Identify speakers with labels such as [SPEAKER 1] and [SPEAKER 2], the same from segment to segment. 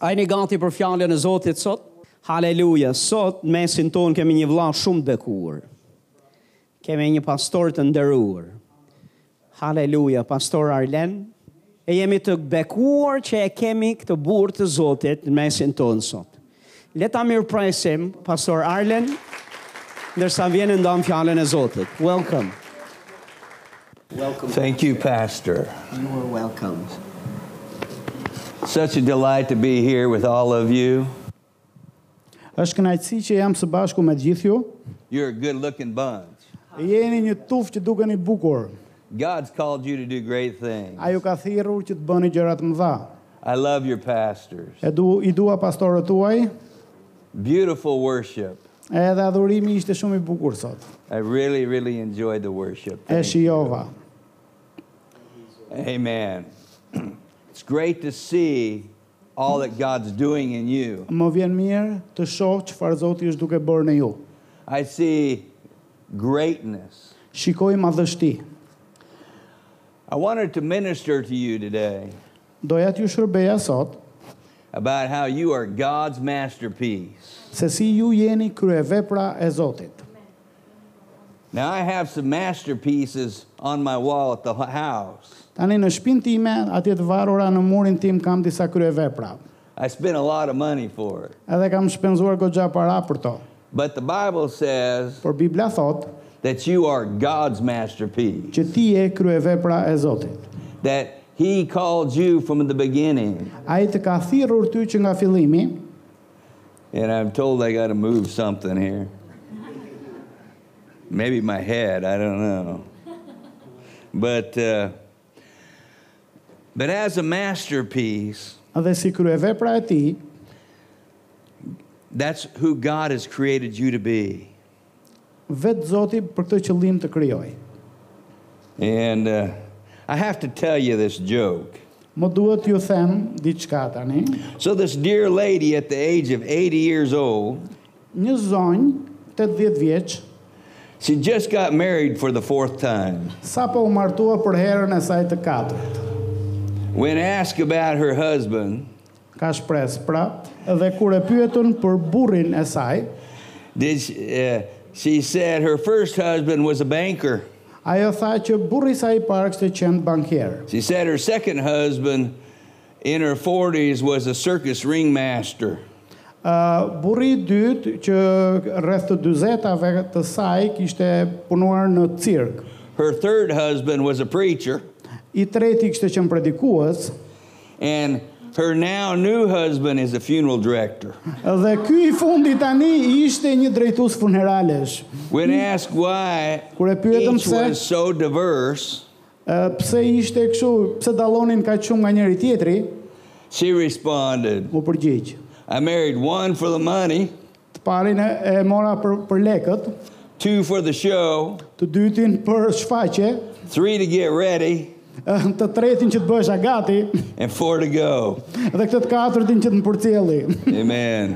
[SPEAKER 1] A jeni gati për fjallën e Zotit sot? Haleluja, sot në mesin ton kemi një vla shumë të bekuar. Kemi një pastor të nderuar. Haleluja, pastor Arlen. E jemi të bekuar që e kemi këtë burë të Zotit në mesin ton sot. Leta mirë presim, pastor Arlen, ndërsa vjenë ndam fjallën e Zotit. Welcome. Welcome.
[SPEAKER 2] Thank you, Pastor.
[SPEAKER 1] You are welcome.
[SPEAKER 2] Such a delight to be here with all of you.
[SPEAKER 3] Është kënaqësi që jam së bashku me të gjithë ju.
[SPEAKER 2] You're a good looking bunch.
[SPEAKER 3] Jeni një tufë që dukeni bukur.
[SPEAKER 2] God's called you to do great things.
[SPEAKER 3] Ai ju ka thirrur që të bëni gjëra të mëdha.
[SPEAKER 2] I love your pastors.
[SPEAKER 3] E du i dua pastorët tuaj,
[SPEAKER 2] Beautiful worship.
[SPEAKER 3] edhe adhurimi ishte shumë i bukur sot.
[SPEAKER 2] I really, really enjoyed the worship.
[SPEAKER 3] E
[SPEAKER 2] Thank you.
[SPEAKER 3] shijova.
[SPEAKER 2] Amen. It's great to see all that God's doing in you.
[SPEAKER 3] Më vjen mirë të shoh çfarë Zoti është duke bërë në ju.
[SPEAKER 2] I see greatness.
[SPEAKER 3] Shikoj madhështi.
[SPEAKER 2] I wanted to minister to you today
[SPEAKER 3] Doja t'ju shërbeja sot
[SPEAKER 2] about how you are God's masterpiece.
[SPEAKER 3] se si ju jeni kryevepra e Zotit.
[SPEAKER 2] Now I have some masterpieces on my wall at the hu- house.
[SPEAKER 3] Tani në shtëpinë time, atje të varura në murin tim kam disa kryevepra.
[SPEAKER 2] I spent a lot of money for it.
[SPEAKER 3] Edhe kam shpenzuar goxha para për to.
[SPEAKER 2] But the Bible says
[SPEAKER 3] Por Bibla thot
[SPEAKER 2] that you are God's masterpiece,
[SPEAKER 3] që ti je kryevepra e Zotit.
[SPEAKER 2] that He called you from the beginning.
[SPEAKER 3] Ai të ka thirrur ty që nga fillimi,
[SPEAKER 2] And I'm told I got to move something here. Maybe my head, I don't know. But, uh, but as a masterpiece,
[SPEAKER 3] dhe si kryevepra e ti,
[SPEAKER 2] that's who God has created you to be.
[SPEAKER 3] vetë Zoti për këtë qëllim të krijoi.
[SPEAKER 2] And uh, I have to tell you this joke.
[SPEAKER 3] Më duhet ju them diçka tani.
[SPEAKER 2] So, this dear lady at the age of 80 years old,
[SPEAKER 3] Një zonjë 80 vjeç
[SPEAKER 2] she just got married for the fourth time.
[SPEAKER 3] sapo u martua për herën e saj të katërt.
[SPEAKER 2] When asked about her husband,
[SPEAKER 3] Ka shpresë pra, dhe kur e pyetën për burrin e saj,
[SPEAKER 2] did she, uh, she said her first husband was a banker.
[SPEAKER 3] ajo tha që burri i saj i parë kishte qenë bankier.
[SPEAKER 2] She said her second husband in her 40s was a circus ringmaster.
[SPEAKER 3] Uh, burri i dytë që rreth të 40-tave të saj kishte punuar në cirk.
[SPEAKER 2] Her third husband was a preacher.
[SPEAKER 3] I treti kishte qenë predikues
[SPEAKER 2] And her now new husband is a funeral director.
[SPEAKER 3] dhe ky i fundi tani ishte një drejtues funeralesh.
[SPEAKER 2] When asked why
[SPEAKER 3] Kur e pyetëm
[SPEAKER 2] each
[SPEAKER 3] pse,
[SPEAKER 2] was so diverse,
[SPEAKER 3] uh, pse ishte kështu, pse dallonin kaq shumë nga njëri tjetri,
[SPEAKER 2] she responded,
[SPEAKER 3] u përgjigj.
[SPEAKER 2] I married one for the money,
[SPEAKER 3] Të parin e, e mora për, për lekët,
[SPEAKER 2] two for the show,
[SPEAKER 3] të dytin për shfaqe,
[SPEAKER 2] three to get ready,
[SPEAKER 3] uh, të tretin që të bëhesha gati
[SPEAKER 2] and four to go.
[SPEAKER 3] dhe këtë të katërtin që të më përcjelli.
[SPEAKER 2] Amen.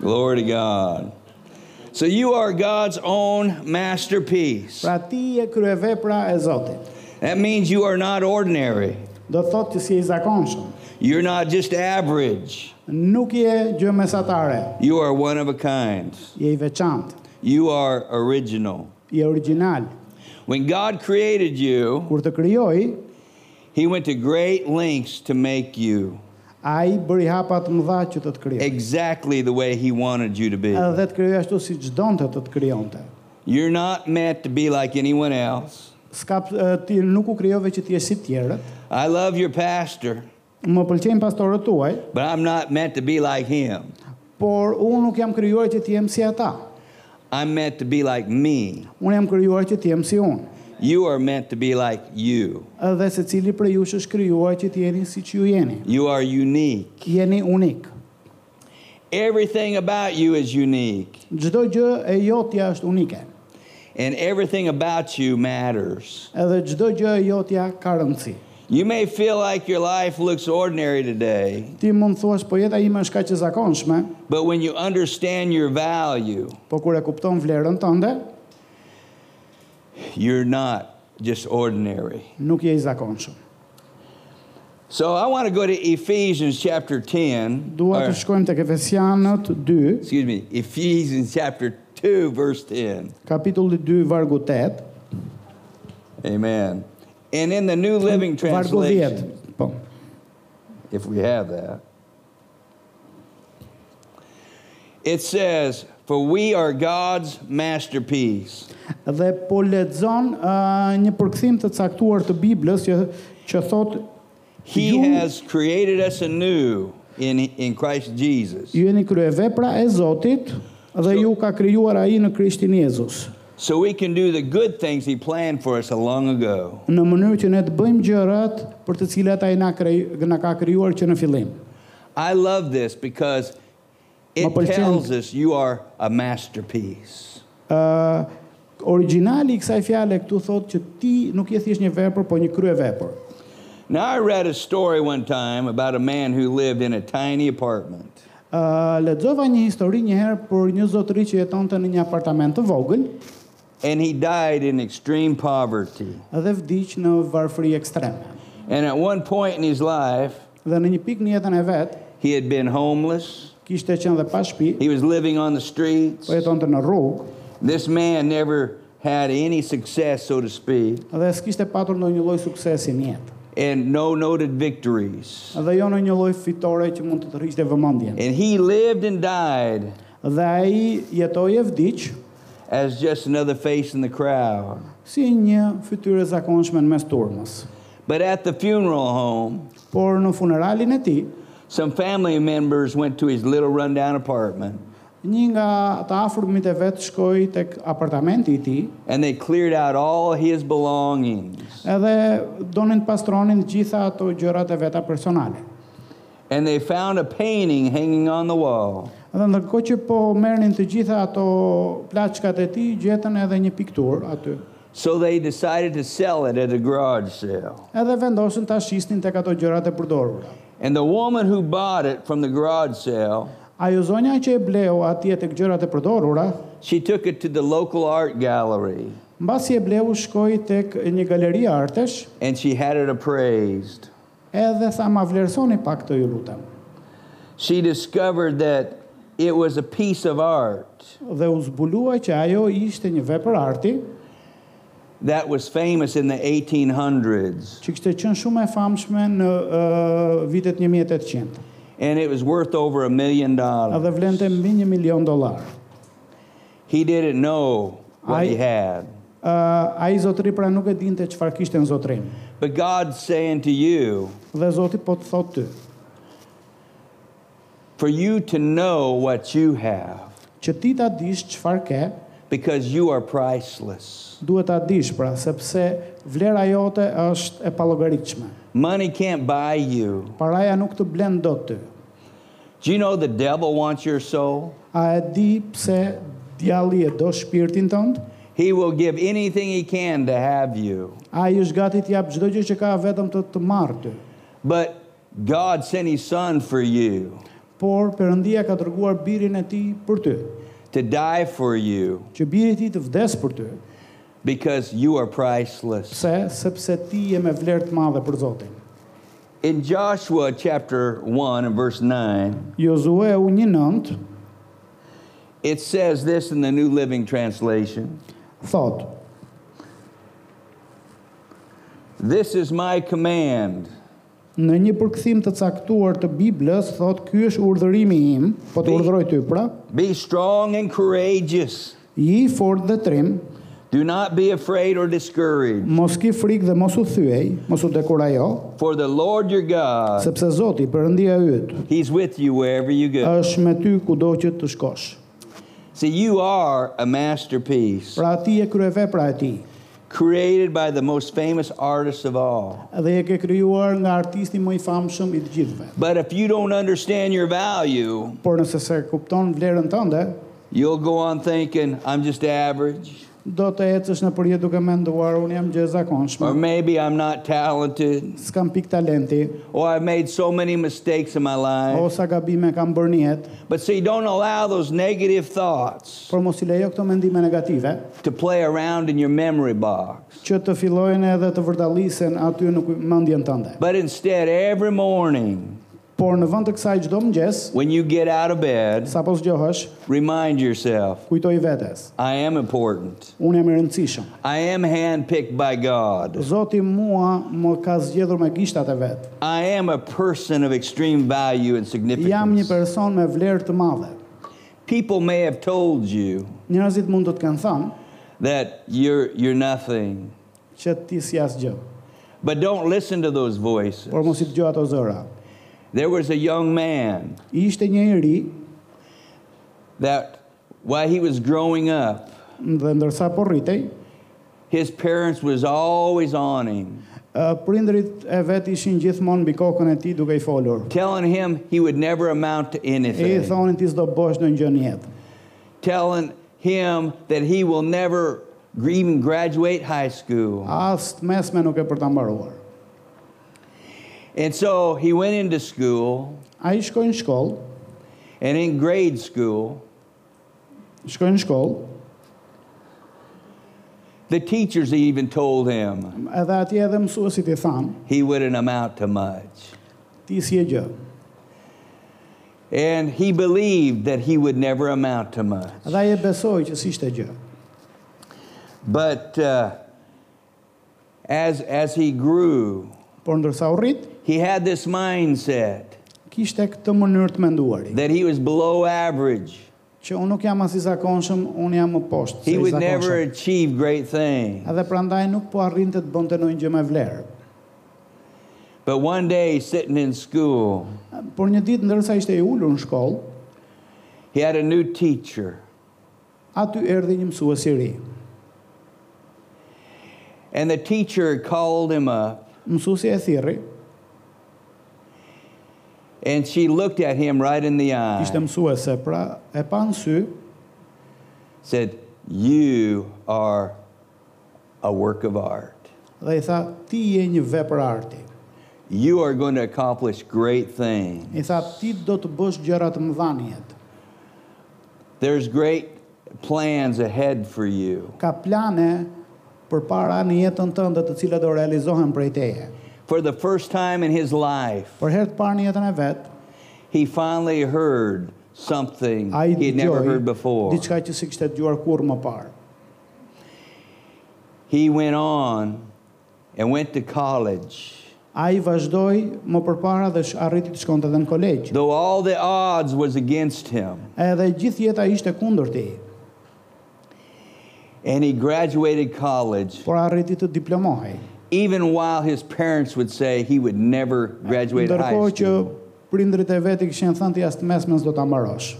[SPEAKER 2] Glory to God. So you are God's own masterpiece.
[SPEAKER 3] Pra ti je kryevepra e Zotit.
[SPEAKER 2] That means you are not ordinary.
[SPEAKER 3] do të thotë që si je i zakonshëm.
[SPEAKER 2] You're not just average.
[SPEAKER 3] Nuk je gjë mesatare,
[SPEAKER 2] You are one of a kind.
[SPEAKER 3] je i veçantë,
[SPEAKER 2] You are original.
[SPEAKER 3] je original.
[SPEAKER 2] When God created you,
[SPEAKER 3] Kur të krijoi,
[SPEAKER 2] He went to great lengths to make you
[SPEAKER 3] ai bëri hapa të mëdha që të të krijojë.
[SPEAKER 2] exactly the way He wanted you to be.
[SPEAKER 3] Edhe të krijojë ashtu siç donte të të krijonte.
[SPEAKER 2] You're not meant to be like anyone else.
[SPEAKER 3] Ska e, ti nuk u krijove që ti je si të tjerët.
[SPEAKER 2] I love your pastor.
[SPEAKER 3] Më pëlqejnë pastorët tuaj,
[SPEAKER 2] But I'm not meant to be like him.
[SPEAKER 3] por unë nuk jam krijuar që të jem si ata.
[SPEAKER 2] I'm meant to be like me.
[SPEAKER 3] Unë jam krijuar që të jem si unë.
[SPEAKER 2] You are meant to be like you.
[SPEAKER 3] Edhe secili prej jush është krijuar që të jeni siç ju jeni.
[SPEAKER 2] You are unique.
[SPEAKER 3] Jeni unik.
[SPEAKER 2] Everything about you is unique,
[SPEAKER 3] Çdo gjë e jotja është unike.
[SPEAKER 2] and everything about you matters.
[SPEAKER 3] Edhe çdo gjë e jotja ka rëndësi.
[SPEAKER 2] You may feel like your life looks ordinary today,
[SPEAKER 3] Ti mund thuash po jeta ime është kaq e zakonshme,
[SPEAKER 2] but when you understand your value,
[SPEAKER 3] po kur e kupton vlerën tënde,
[SPEAKER 2] you're not just ordinary.
[SPEAKER 3] nuk je i zakonshëm.
[SPEAKER 2] So I want to go to Ephesians chapter 10.
[SPEAKER 3] Dua
[SPEAKER 2] or,
[SPEAKER 3] të shkojmë tek Efesianët 2,
[SPEAKER 2] excuse me, Ephesians chapter 2, verse 10.
[SPEAKER 3] kapitulli 2, vargu 8,
[SPEAKER 2] Amen. And in the New Living
[SPEAKER 3] vargu 10.
[SPEAKER 2] Translation,
[SPEAKER 3] Po.
[SPEAKER 2] if we have that, it says, For we are God's masterpiece.
[SPEAKER 3] Dhe po lexon ë, një përkthim të caktuar të Biblës që që thotë
[SPEAKER 2] He
[SPEAKER 3] Ju-
[SPEAKER 2] has created us anew in, in Christ Jesus.
[SPEAKER 3] ju jeni kryevepra e Zotit dhe ju ka krijuar ai në Krishtin Jezus.
[SPEAKER 2] So we can do the good things He planned for us long ago.
[SPEAKER 3] Në mënyrë që ne të bëjmë gjërat për të cilat ai na krej, na ka krijuar që në fillim.
[SPEAKER 2] I love this because it
[SPEAKER 3] Mapalchen.
[SPEAKER 2] tells us you are a masterpiece.
[SPEAKER 3] ë origjinali i kësaj fjale këtu thotë që ti nuk je thjesht një vepër, po një kryevepër.
[SPEAKER 2] Now, I read a story one time about a man who lived in a tiny apartment.
[SPEAKER 3] ë lexova një histori një herë për një zotëri që jetonte në një apartament të vogël
[SPEAKER 2] And he died in extreme poverty.
[SPEAKER 3] dhe vdiq në varfëri ekstreme.
[SPEAKER 2] And at one point in his life,
[SPEAKER 3] Dhe në një pikë në jetën e vet,
[SPEAKER 2] he had been homeless.
[SPEAKER 3] kishte qenë dhe pa shtëpi,
[SPEAKER 2] He was living on the streets.
[SPEAKER 3] po jetonte në rrugë
[SPEAKER 2] This man never had any success, so to speak,
[SPEAKER 3] dhe s'kishte patur ndonjë lloj suksesi në jetë.
[SPEAKER 2] and no noted victories.
[SPEAKER 3] Dhe jo në një lloj fitore që mund të tërhiqte vëmendjen.
[SPEAKER 2] And he lived and died
[SPEAKER 3] Dhe ai jetoi e vdiq
[SPEAKER 2] as just another face in the crowd.
[SPEAKER 3] si një fytyrë e zakonshme në mes turmës.
[SPEAKER 2] But at the funeral home,
[SPEAKER 3] Por në funeralin e tij,
[SPEAKER 2] some family members went to his little rundown apartment
[SPEAKER 3] Një nga të afërmit e vetë shkoj tek apartamenti i ti,
[SPEAKER 2] and they cleared out all his belongings.
[SPEAKER 3] edhe donin të pastronin gjitha ato gjërat e veta personale.
[SPEAKER 2] And they found a painting hanging on the wall.
[SPEAKER 3] Edhe ndërkohë që po merrnin të gjitha ato plaçkat e ti, gjetën edhe një piktur aty.
[SPEAKER 2] So they decided to sell it at a garage sale.
[SPEAKER 3] Edhe vendosën ta shisnin tek ato gjërat e përdorura.
[SPEAKER 2] And the woman who bought it from the garage sale
[SPEAKER 3] Ajo zonja që e bleu atje tek gjërat e përdorura,
[SPEAKER 2] She took it to the local art gallery
[SPEAKER 3] mbasi e bleu shkoi tek një galeri artesh,
[SPEAKER 2] and she had it appraised.
[SPEAKER 3] edhe tha ma vlerësoni pak të ju lutem.
[SPEAKER 2] She discovered that it was a piece of art
[SPEAKER 3] Dhe u zbulua që ajo ishte një vepër arti,
[SPEAKER 2] that was famous in the 1800s
[SPEAKER 3] që kishte qenë shumë e famshme në uh, vitet 1800
[SPEAKER 2] and it was worth over a million dollars.
[SPEAKER 3] edhe vlente mbi 1 milion dollar.
[SPEAKER 2] He didn't know what
[SPEAKER 3] I-
[SPEAKER 2] he had.
[SPEAKER 3] Uh, ai zotëri pra nuk e dinte çfarë kishte në zotërim.
[SPEAKER 2] But God's saying to you,
[SPEAKER 3] Dhe Zoti po të thotë ty
[SPEAKER 2] for you to know what you have,
[SPEAKER 3] që ti ta dish çfarë ke,
[SPEAKER 2] because you are priceless.
[SPEAKER 3] duhet ta dish pra sepse vlera jote është e pallogaritshme.
[SPEAKER 2] Money can't buy you.
[SPEAKER 3] Paraja nuk të blen dot ty.
[SPEAKER 2] Do you know the devil wants your soul?
[SPEAKER 3] A e di pse djalli e do shpirtin tënd?
[SPEAKER 2] He will give anything he can to have you.
[SPEAKER 3] Ai është gati të jap çdo gjë që ka vetëm të të marrë ty.
[SPEAKER 2] But God sent his son for you,
[SPEAKER 3] Por Perëndia ka dërguar birin e tij për ty,
[SPEAKER 2] to die for you,
[SPEAKER 3] që biri i tij të vdes për ty.
[SPEAKER 2] because you are priceless.
[SPEAKER 3] Pse? Sepse ti je me vlerë të madhe për Zotin.
[SPEAKER 2] In Joshua chapter 1 and verse 9,
[SPEAKER 3] Jozue u një nëndë,
[SPEAKER 2] it says this in the New Living Translation
[SPEAKER 3] thotë,
[SPEAKER 2] This is my command
[SPEAKER 3] në një përkthim të caktuar të Biblës, thotë, ky është urdhërimi im, po të
[SPEAKER 2] Bi-
[SPEAKER 3] urdhëroj ty pra,
[SPEAKER 2] be strong and courageous.
[SPEAKER 3] i fort dhe trim,
[SPEAKER 2] Do not be afraid or discouraged,
[SPEAKER 3] mos ki frikë dhe mos u thyej, mos u dekurajo,
[SPEAKER 2] for the Lord your God,
[SPEAKER 3] sepse Zoti, përëndia ytë,
[SPEAKER 2] he's with you wherever you go.
[SPEAKER 3] është me ty kudo që të shkosh.
[SPEAKER 2] See, you are a masterpiece.
[SPEAKER 3] Pra ti je kryevepra e ti,
[SPEAKER 2] created by the most famous artist of all.
[SPEAKER 3] dhe je ke krijuar nga artisti më i famshëm i të gjithëve.
[SPEAKER 2] But if you don't understand your value,
[SPEAKER 3] Por nëse se kupton vlerën tënde,
[SPEAKER 2] you'll go on thinking, I'm just average.
[SPEAKER 3] do të ecësh në përjet duke menduar unë jam
[SPEAKER 2] Or
[SPEAKER 3] gjëzakonshëm.
[SPEAKER 2] maybe I'm not talented.
[SPEAKER 3] S'kam pik talenti,
[SPEAKER 2] Or Oh, I've made so many mistakes in my life.
[SPEAKER 3] o sa gabime kam bërë një jetë,
[SPEAKER 2] But see, don't allow those negative thoughts
[SPEAKER 3] por mos i lejo këto mendime negative
[SPEAKER 2] to play around in your memory box.
[SPEAKER 3] që të fillojnë edhe të vërdallisen aty në kuj- mendjen tënde.
[SPEAKER 2] But instead, every morning
[SPEAKER 3] Por në vend të kësaj çdo mëngjes,
[SPEAKER 2] when you get out of bed,
[SPEAKER 3] sapo zgjohesh,
[SPEAKER 2] remind yourself
[SPEAKER 3] kujtoj vetes,
[SPEAKER 2] I am important.
[SPEAKER 3] unë jam i rëndësishëm.
[SPEAKER 2] I am handpicked by God.
[SPEAKER 3] Zoti mua më ka zgjedhur me gishtat e vet.
[SPEAKER 2] I am a person of extreme value and
[SPEAKER 3] Jam një
[SPEAKER 2] significance.
[SPEAKER 3] person me vlerë të madhe.
[SPEAKER 2] People may have told you
[SPEAKER 3] Njerëzit mund të të kenë thënë
[SPEAKER 2] that you're, you're nothing,
[SPEAKER 3] që ti si asgjë,
[SPEAKER 2] but don't listen to those voices.
[SPEAKER 3] por mos i dëgjoj ato zëra.
[SPEAKER 2] There was a young man
[SPEAKER 3] Ishte një i ri
[SPEAKER 2] that, while he was growing up,
[SPEAKER 3] dhe ndërsa po rritej,
[SPEAKER 2] his parents was always on him,
[SPEAKER 3] ë, prindrit e vet ishin gjithmonë mbi kokën e tij duke i folur.
[SPEAKER 2] telling him he would never amount to
[SPEAKER 3] E i
[SPEAKER 2] anything.
[SPEAKER 3] thonin ti s'do bësh në gjë në jetë.
[SPEAKER 2] telling him that he will never even graduate high school.
[SPEAKER 3] As të mesme nuk e për ta mbaruar.
[SPEAKER 2] And so he went into school,
[SPEAKER 3] Ai shkoi në shkollë,
[SPEAKER 2] and in grade school,
[SPEAKER 3] shkoi në shkollë,
[SPEAKER 2] the teachers even told him
[SPEAKER 3] edhe atje edhe mësuesit i thanë,
[SPEAKER 2] he wouldn't amount to much.
[SPEAKER 3] ti si e gjë.
[SPEAKER 2] And he believed that he would never amount to much.
[SPEAKER 3] Edhe ai e besoi që si ishte gjë.
[SPEAKER 2] But uh, as, as he grew,
[SPEAKER 3] Por ndërsa u rrit,
[SPEAKER 2] he had this mindset
[SPEAKER 3] kishte këtë mënyrë të menduari,
[SPEAKER 2] that he was below average.
[SPEAKER 3] që unë nuk jam as i zakonshëm, unë jam më poshtë se
[SPEAKER 2] He
[SPEAKER 3] i
[SPEAKER 2] would never
[SPEAKER 3] zakonshëm.
[SPEAKER 2] achieve great things.
[SPEAKER 3] Edhe prandaj nuk po arrinte të bënte ndonjë gjë me vlerë.
[SPEAKER 2] But one day, sitting in school,
[SPEAKER 3] Por një ditë ndërsa ishte i ulur në shkollë,
[SPEAKER 2] He had a new teacher,
[SPEAKER 3] aty erdhi një mësues i ri.
[SPEAKER 2] and the teacher called him up,
[SPEAKER 3] Mësuesi e thirri,
[SPEAKER 2] and she looked at him right in the eye,
[SPEAKER 3] ishte mësuese, pra e pa në sy,
[SPEAKER 2] said, "You are a work of art.
[SPEAKER 3] dhe i tha, ti je një vepër arti.
[SPEAKER 2] You are going to accomplish great things.
[SPEAKER 3] I tha, ti do të bësh gjëra të mëdha në jetë.
[SPEAKER 2] There's great plans ahead for you.
[SPEAKER 3] Ka plane për para në jetën tënde të cilat do realizohen prej teje.
[SPEAKER 2] For the first time in his life,
[SPEAKER 3] Për herë të parë në jetën e vetë,
[SPEAKER 2] he finally heard something
[SPEAKER 3] a i
[SPEAKER 2] he had never heard before.
[SPEAKER 3] diçka që si kështë të dëgjuar kur më parë.
[SPEAKER 2] He went on and went to college.
[SPEAKER 3] A i vazhdoj më përpara dhe sh- arriti të shkonte edhe në kolegj.
[SPEAKER 2] Though all the odds was against him,
[SPEAKER 3] Edhe gjithë jeta ishte kundër ti,
[SPEAKER 2] And he graduated college,
[SPEAKER 3] por arriti të diplomohej.
[SPEAKER 2] even while his parents would say he would never graduate high
[SPEAKER 3] Ndërkohë që
[SPEAKER 2] school.
[SPEAKER 3] prindrit e veti kishin thënë ti as të mesmen s'do ta mbarosh.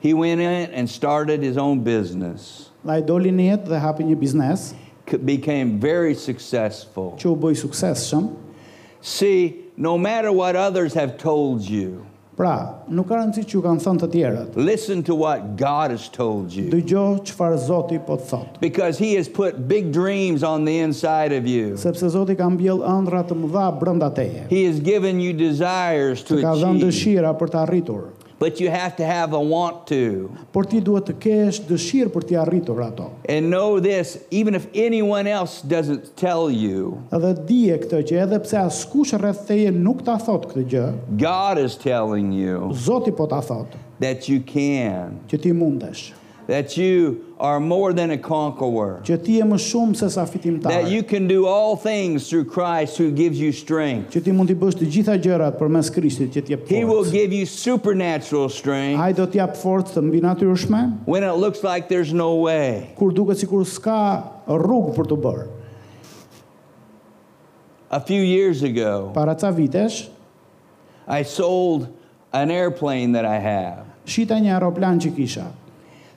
[SPEAKER 2] He went in and started his own business,
[SPEAKER 3] Dhe ai doli në jetë dhe hapi një biznes
[SPEAKER 2] c- became very successful.
[SPEAKER 3] që u bëj suksesshëm.
[SPEAKER 2] See, no matter what others have told you,
[SPEAKER 3] Pra, nuk ka rëndësi që ju kanë thënë të tjerët.
[SPEAKER 2] listen to what God has told you.
[SPEAKER 3] Dëgjoj çfarë Zoti po të thotë.
[SPEAKER 2] Because he has put big dreams on the inside of you.
[SPEAKER 3] sepse Zoti ka mbjell ëndra të mëdha brenda teje.
[SPEAKER 2] He has given you desires
[SPEAKER 3] Të
[SPEAKER 2] to
[SPEAKER 3] ka dhënë
[SPEAKER 2] achieve.
[SPEAKER 3] dëshira për të arritur,
[SPEAKER 2] But you have to have a want to.
[SPEAKER 3] por ti duhet të kesh dëshirë për të arritur ato.
[SPEAKER 2] And know this, even if anyone else doesn't tell you,
[SPEAKER 3] Edhe dije këtë që edhe pse askush rreth teje nuk ta thot këtë gjë,
[SPEAKER 2] God is telling you
[SPEAKER 3] Zoti po ta thot
[SPEAKER 2] that you can,
[SPEAKER 3] që ti mundesh,
[SPEAKER 2] that you are more than a conqueror,
[SPEAKER 3] që ti je më shumë se sa
[SPEAKER 2] that
[SPEAKER 3] fitimtar,
[SPEAKER 2] you can do all things through Christ who gives you strength.
[SPEAKER 3] që ti mund të bësh të gjitha gjërat përmes Krishtit që të jep
[SPEAKER 2] He will
[SPEAKER 3] forcë.
[SPEAKER 2] give you supernatural strength
[SPEAKER 3] Ai do të jap forcë të mbinatyrshme
[SPEAKER 2] when it looks like there's no way.
[SPEAKER 3] kur duket sikur s'ka rrugë për të bërë.
[SPEAKER 2] A few years ago,
[SPEAKER 3] Para ca vitesh,
[SPEAKER 2] I sold an airplane that I have,
[SPEAKER 3] shita një aeroplan që kisha.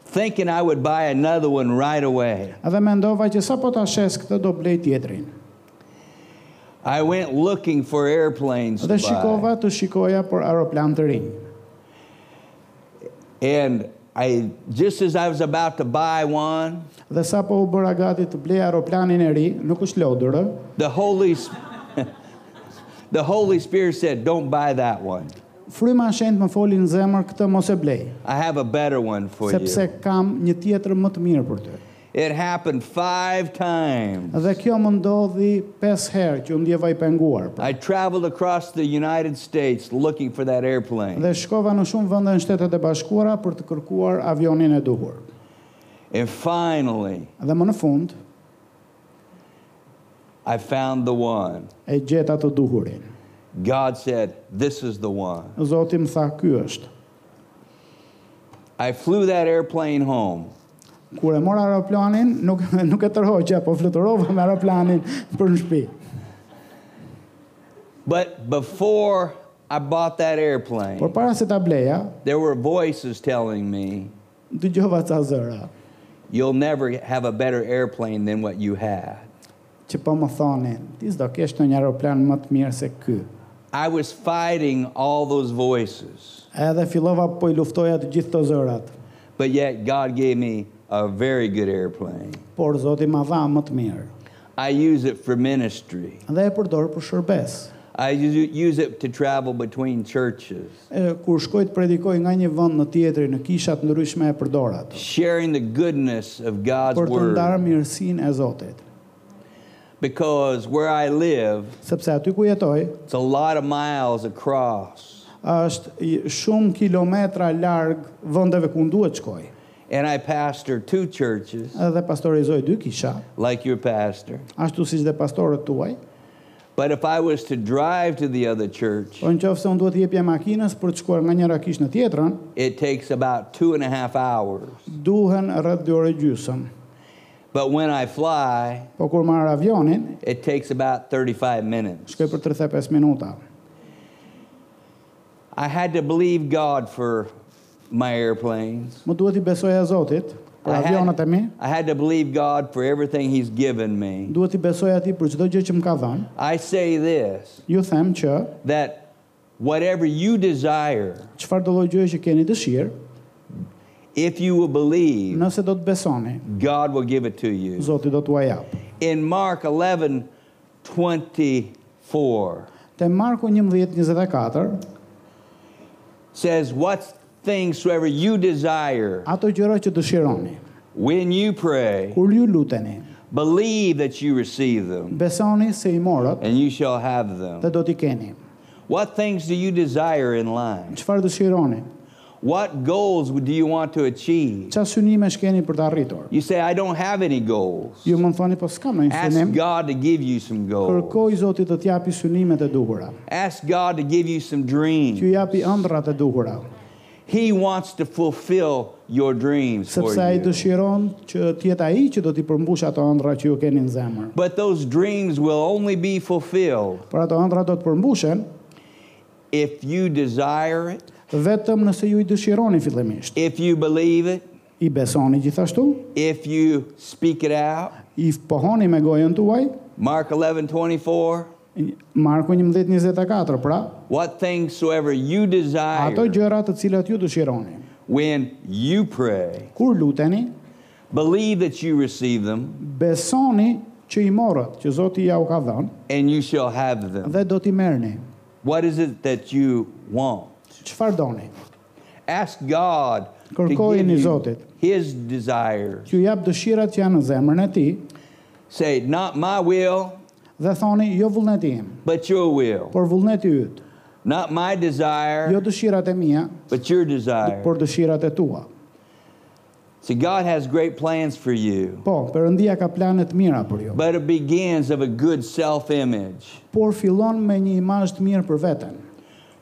[SPEAKER 2] thinking I would buy another one right away.
[SPEAKER 3] Edhe mendova që sa po ta shes këtë do blej tjetrin.
[SPEAKER 2] I went looking for airplanes to
[SPEAKER 3] Dhe
[SPEAKER 2] buy.
[SPEAKER 3] shikova të shikoja për aeroplan të rinj.
[SPEAKER 2] And I just as I was about to buy one,
[SPEAKER 3] Dhe sa po u bëra gati të blej aeroplanin e ri, nuk është lodër, ë?
[SPEAKER 2] the Holy S- the Holy Spirit said, "Don't buy that one.
[SPEAKER 3] Fryma e shenjtë më foli në zemër këtë mos e blej,
[SPEAKER 2] I have a better one for
[SPEAKER 3] sepse
[SPEAKER 2] you."
[SPEAKER 3] kam një tjetër më të mirë për ty.
[SPEAKER 2] It happened 5 times.
[SPEAKER 3] Dhe kjo më ndodhi 5 herë që u ndjeva i penguar. pra.
[SPEAKER 2] I traveled across the United States looking for that airplane.
[SPEAKER 3] Dhe shkova në shumë vende në Shtetet e Bashkuara për të kërkuar avionin e duhur.
[SPEAKER 2] And finally,
[SPEAKER 3] Dhe më në fund
[SPEAKER 2] I found the one.
[SPEAKER 3] e gjeta të duhurin.
[SPEAKER 2] God said, "This is the one."
[SPEAKER 3] Zoti më tha, "Ky është."
[SPEAKER 2] I flew that airplane home.
[SPEAKER 3] Kur e mora aeroplanin, nuk nuk e tërhoqja, po fluturova me aeroplanin për në shtëpi.
[SPEAKER 2] But before I bought that airplane,
[SPEAKER 3] Por para se ta bleja,
[SPEAKER 2] there were voices telling me,
[SPEAKER 3] dëgjova ca zëra
[SPEAKER 2] You'll never have a better airplane than what you had.
[SPEAKER 3] që po më thonin, ti s'do kesh në një aeroplan më të mirë se ky.
[SPEAKER 2] I was fighting all those voices,
[SPEAKER 3] Edhe fillova po i luftoja të gjithë të zërat,
[SPEAKER 2] but yet God gave me a very good airplane.
[SPEAKER 3] por Zoti ma dha më të mirë.
[SPEAKER 2] I use it for ministry.
[SPEAKER 3] Dhe e përdor për shërbes.
[SPEAKER 2] I u- use it to travel between churches,
[SPEAKER 3] E, kur shkoj të predikoj nga një vend në tjetrin në kisha të ndryshme e përdorat,
[SPEAKER 2] sharing the goodness of God's
[SPEAKER 3] për të ndarë
[SPEAKER 2] word.
[SPEAKER 3] mirësinë e Zotit.
[SPEAKER 2] Because where I live,
[SPEAKER 3] Sepse aty ku jetoj,
[SPEAKER 2] it's a lot of miles across,
[SPEAKER 3] është i- shumë kilometra larg vendeve ku duhet shkoj.
[SPEAKER 2] and I pastor two churches,
[SPEAKER 3] Edhe pastorizoj dy kisha,
[SPEAKER 2] like your pastor.
[SPEAKER 3] ashtu siç dhe pastorët tuaj.
[SPEAKER 2] But if I was to drive to the other church,
[SPEAKER 3] Po në qoftë se unë duhet jepja makinës për të shkuar nga njëra kish në tjetrën,
[SPEAKER 2] it takes about two and a half hours.
[SPEAKER 3] duhen rreth 2 orë gjysmë.
[SPEAKER 2] But when I fly,
[SPEAKER 3] Po kur marr avionin,
[SPEAKER 2] it takes about 35 minutes.
[SPEAKER 3] shkoj për 35 minuta.
[SPEAKER 2] I had to believe God for my airplanes.
[SPEAKER 3] Më duhet i besoja Zotit për
[SPEAKER 2] I
[SPEAKER 3] avionet e mi,
[SPEAKER 2] had, I had to believe God for everything He's given me.
[SPEAKER 3] duhet i besoja atij për çdo gjë që më ka dhënë.
[SPEAKER 2] I say this
[SPEAKER 3] Ju them që
[SPEAKER 2] that whatever you desire,
[SPEAKER 3] çfarë do lloj gjëje që keni dëshirë,
[SPEAKER 2] if you will believe,
[SPEAKER 3] nëse do të besoni,
[SPEAKER 2] God will give it to you.
[SPEAKER 3] Zoti do t'ua jap.
[SPEAKER 2] In Mark 11 24
[SPEAKER 3] Te Marku 11:24
[SPEAKER 2] says, What things soever you desire,
[SPEAKER 3] ato gjëra që dëshironi.
[SPEAKER 2] when you pray,
[SPEAKER 3] Kur ju luteni,
[SPEAKER 2] Believe that you receive them,
[SPEAKER 3] besoni se i morët
[SPEAKER 2] and you shall have
[SPEAKER 3] dhe
[SPEAKER 2] them.
[SPEAKER 3] do t'i keni.
[SPEAKER 2] What things do you desire in life?
[SPEAKER 3] Çfarë dëshironi?
[SPEAKER 2] What goals do you want to achieve?
[SPEAKER 3] Çfarë synime shkeni për të arritur?
[SPEAKER 2] You say, I don't have any goals.
[SPEAKER 3] Ju më thoni po s'kam ndonjë
[SPEAKER 2] Ask
[SPEAKER 3] synim.
[SPEAKER 2] God to give you some goals.
[SPEAKER 3] Kërkoj Zotit të t'japi synimet e duhura,
[SPEAKER 2] Ask God to give you some
[SPEAKER 3] t'ju
[SPEAKER 2] dreams.
[SPEAKER 3] japi ëndrat e duhura,
[SPEAKER 2] He wants to fulfill your dreams for
[SPEAKER 3] sepse ai
[SPEAKER 2] you.
[SPEAKER 3] dëshiron që të jetë ai që do t'i përmbush ato ëndra që ju keni në zemër.
[SPEAKER 2] But those dreams will only be fulfilled
[SPEAKER 3] Por ato ëndra do të përmbushen
[SPEAKER 2] if you desire it,
[SPEAKER 3] vetëm nëse ju i dëshironi fillimisht.
[SPEAKER 2] if you believe it,
[SPEAKER 3] I besoni gjithashtu,
[SPEAKER 2] if you speak it out.
[SPEAKER 3] i pohoni me gojën tuaj.
[SPEAKER 2] Mark 11 24.
[SPEAKER 3] Marku 11:24 pra,
[SPEAKER 2] What things soever you
[SPEAKER 3] ato
[SPEAKER 2] desire
[SPEAKER 3] gjëra të cilat ju dëshironi.
[SPEAKER 2] when you pray,
[SPEAKER 3] Kur luteni,
[SPEAKER 2] believe that you receive them
[SPEAKER 3] besoni që i morët, që Zoti ja u ka dhënë
[SPEAKER 2] and you shall have them.
[SPEAKER 3] dhe do t'i merrni.
[SPEAKER 2] What is it that you want?
[SPEAKER 3] Çfarë doni?
[SPEAKER 2] Ask God to give
[SPEAKER 3] Kërkojeni
[SPEAKER 2] you
[SPEAKER 3] Zotit.
[SPEAKER 2] His desires.
[SPEAKER 3] Që jap dëshirat që janë në zemrën e tij
[SPEAKER 2] Say, not my will,
[SPEAKER 3] dhe thoni jo vullneti im,
[SPEAKER 2] but your will.
[SPEAKER 3] por vullneti yt.
[SPEAKER 2] Not my
[SPEAKER 3] Jo
[SPEAKER 2] desire,
[SPEAKER 3] dëshirat e mia,
[SPEAKER 2] but your desire.
[SPEAKER 3] por dëshirat e tua.
[SPEAKER 2] See, God has great plans for you,
[SPEAKER 3] Po, Perëndia ka plane të mira për ju,
[SPEAKER 2] but it begins of a good self image,
[SPEAKER 3] por fillon me një imazh të mirë për veten,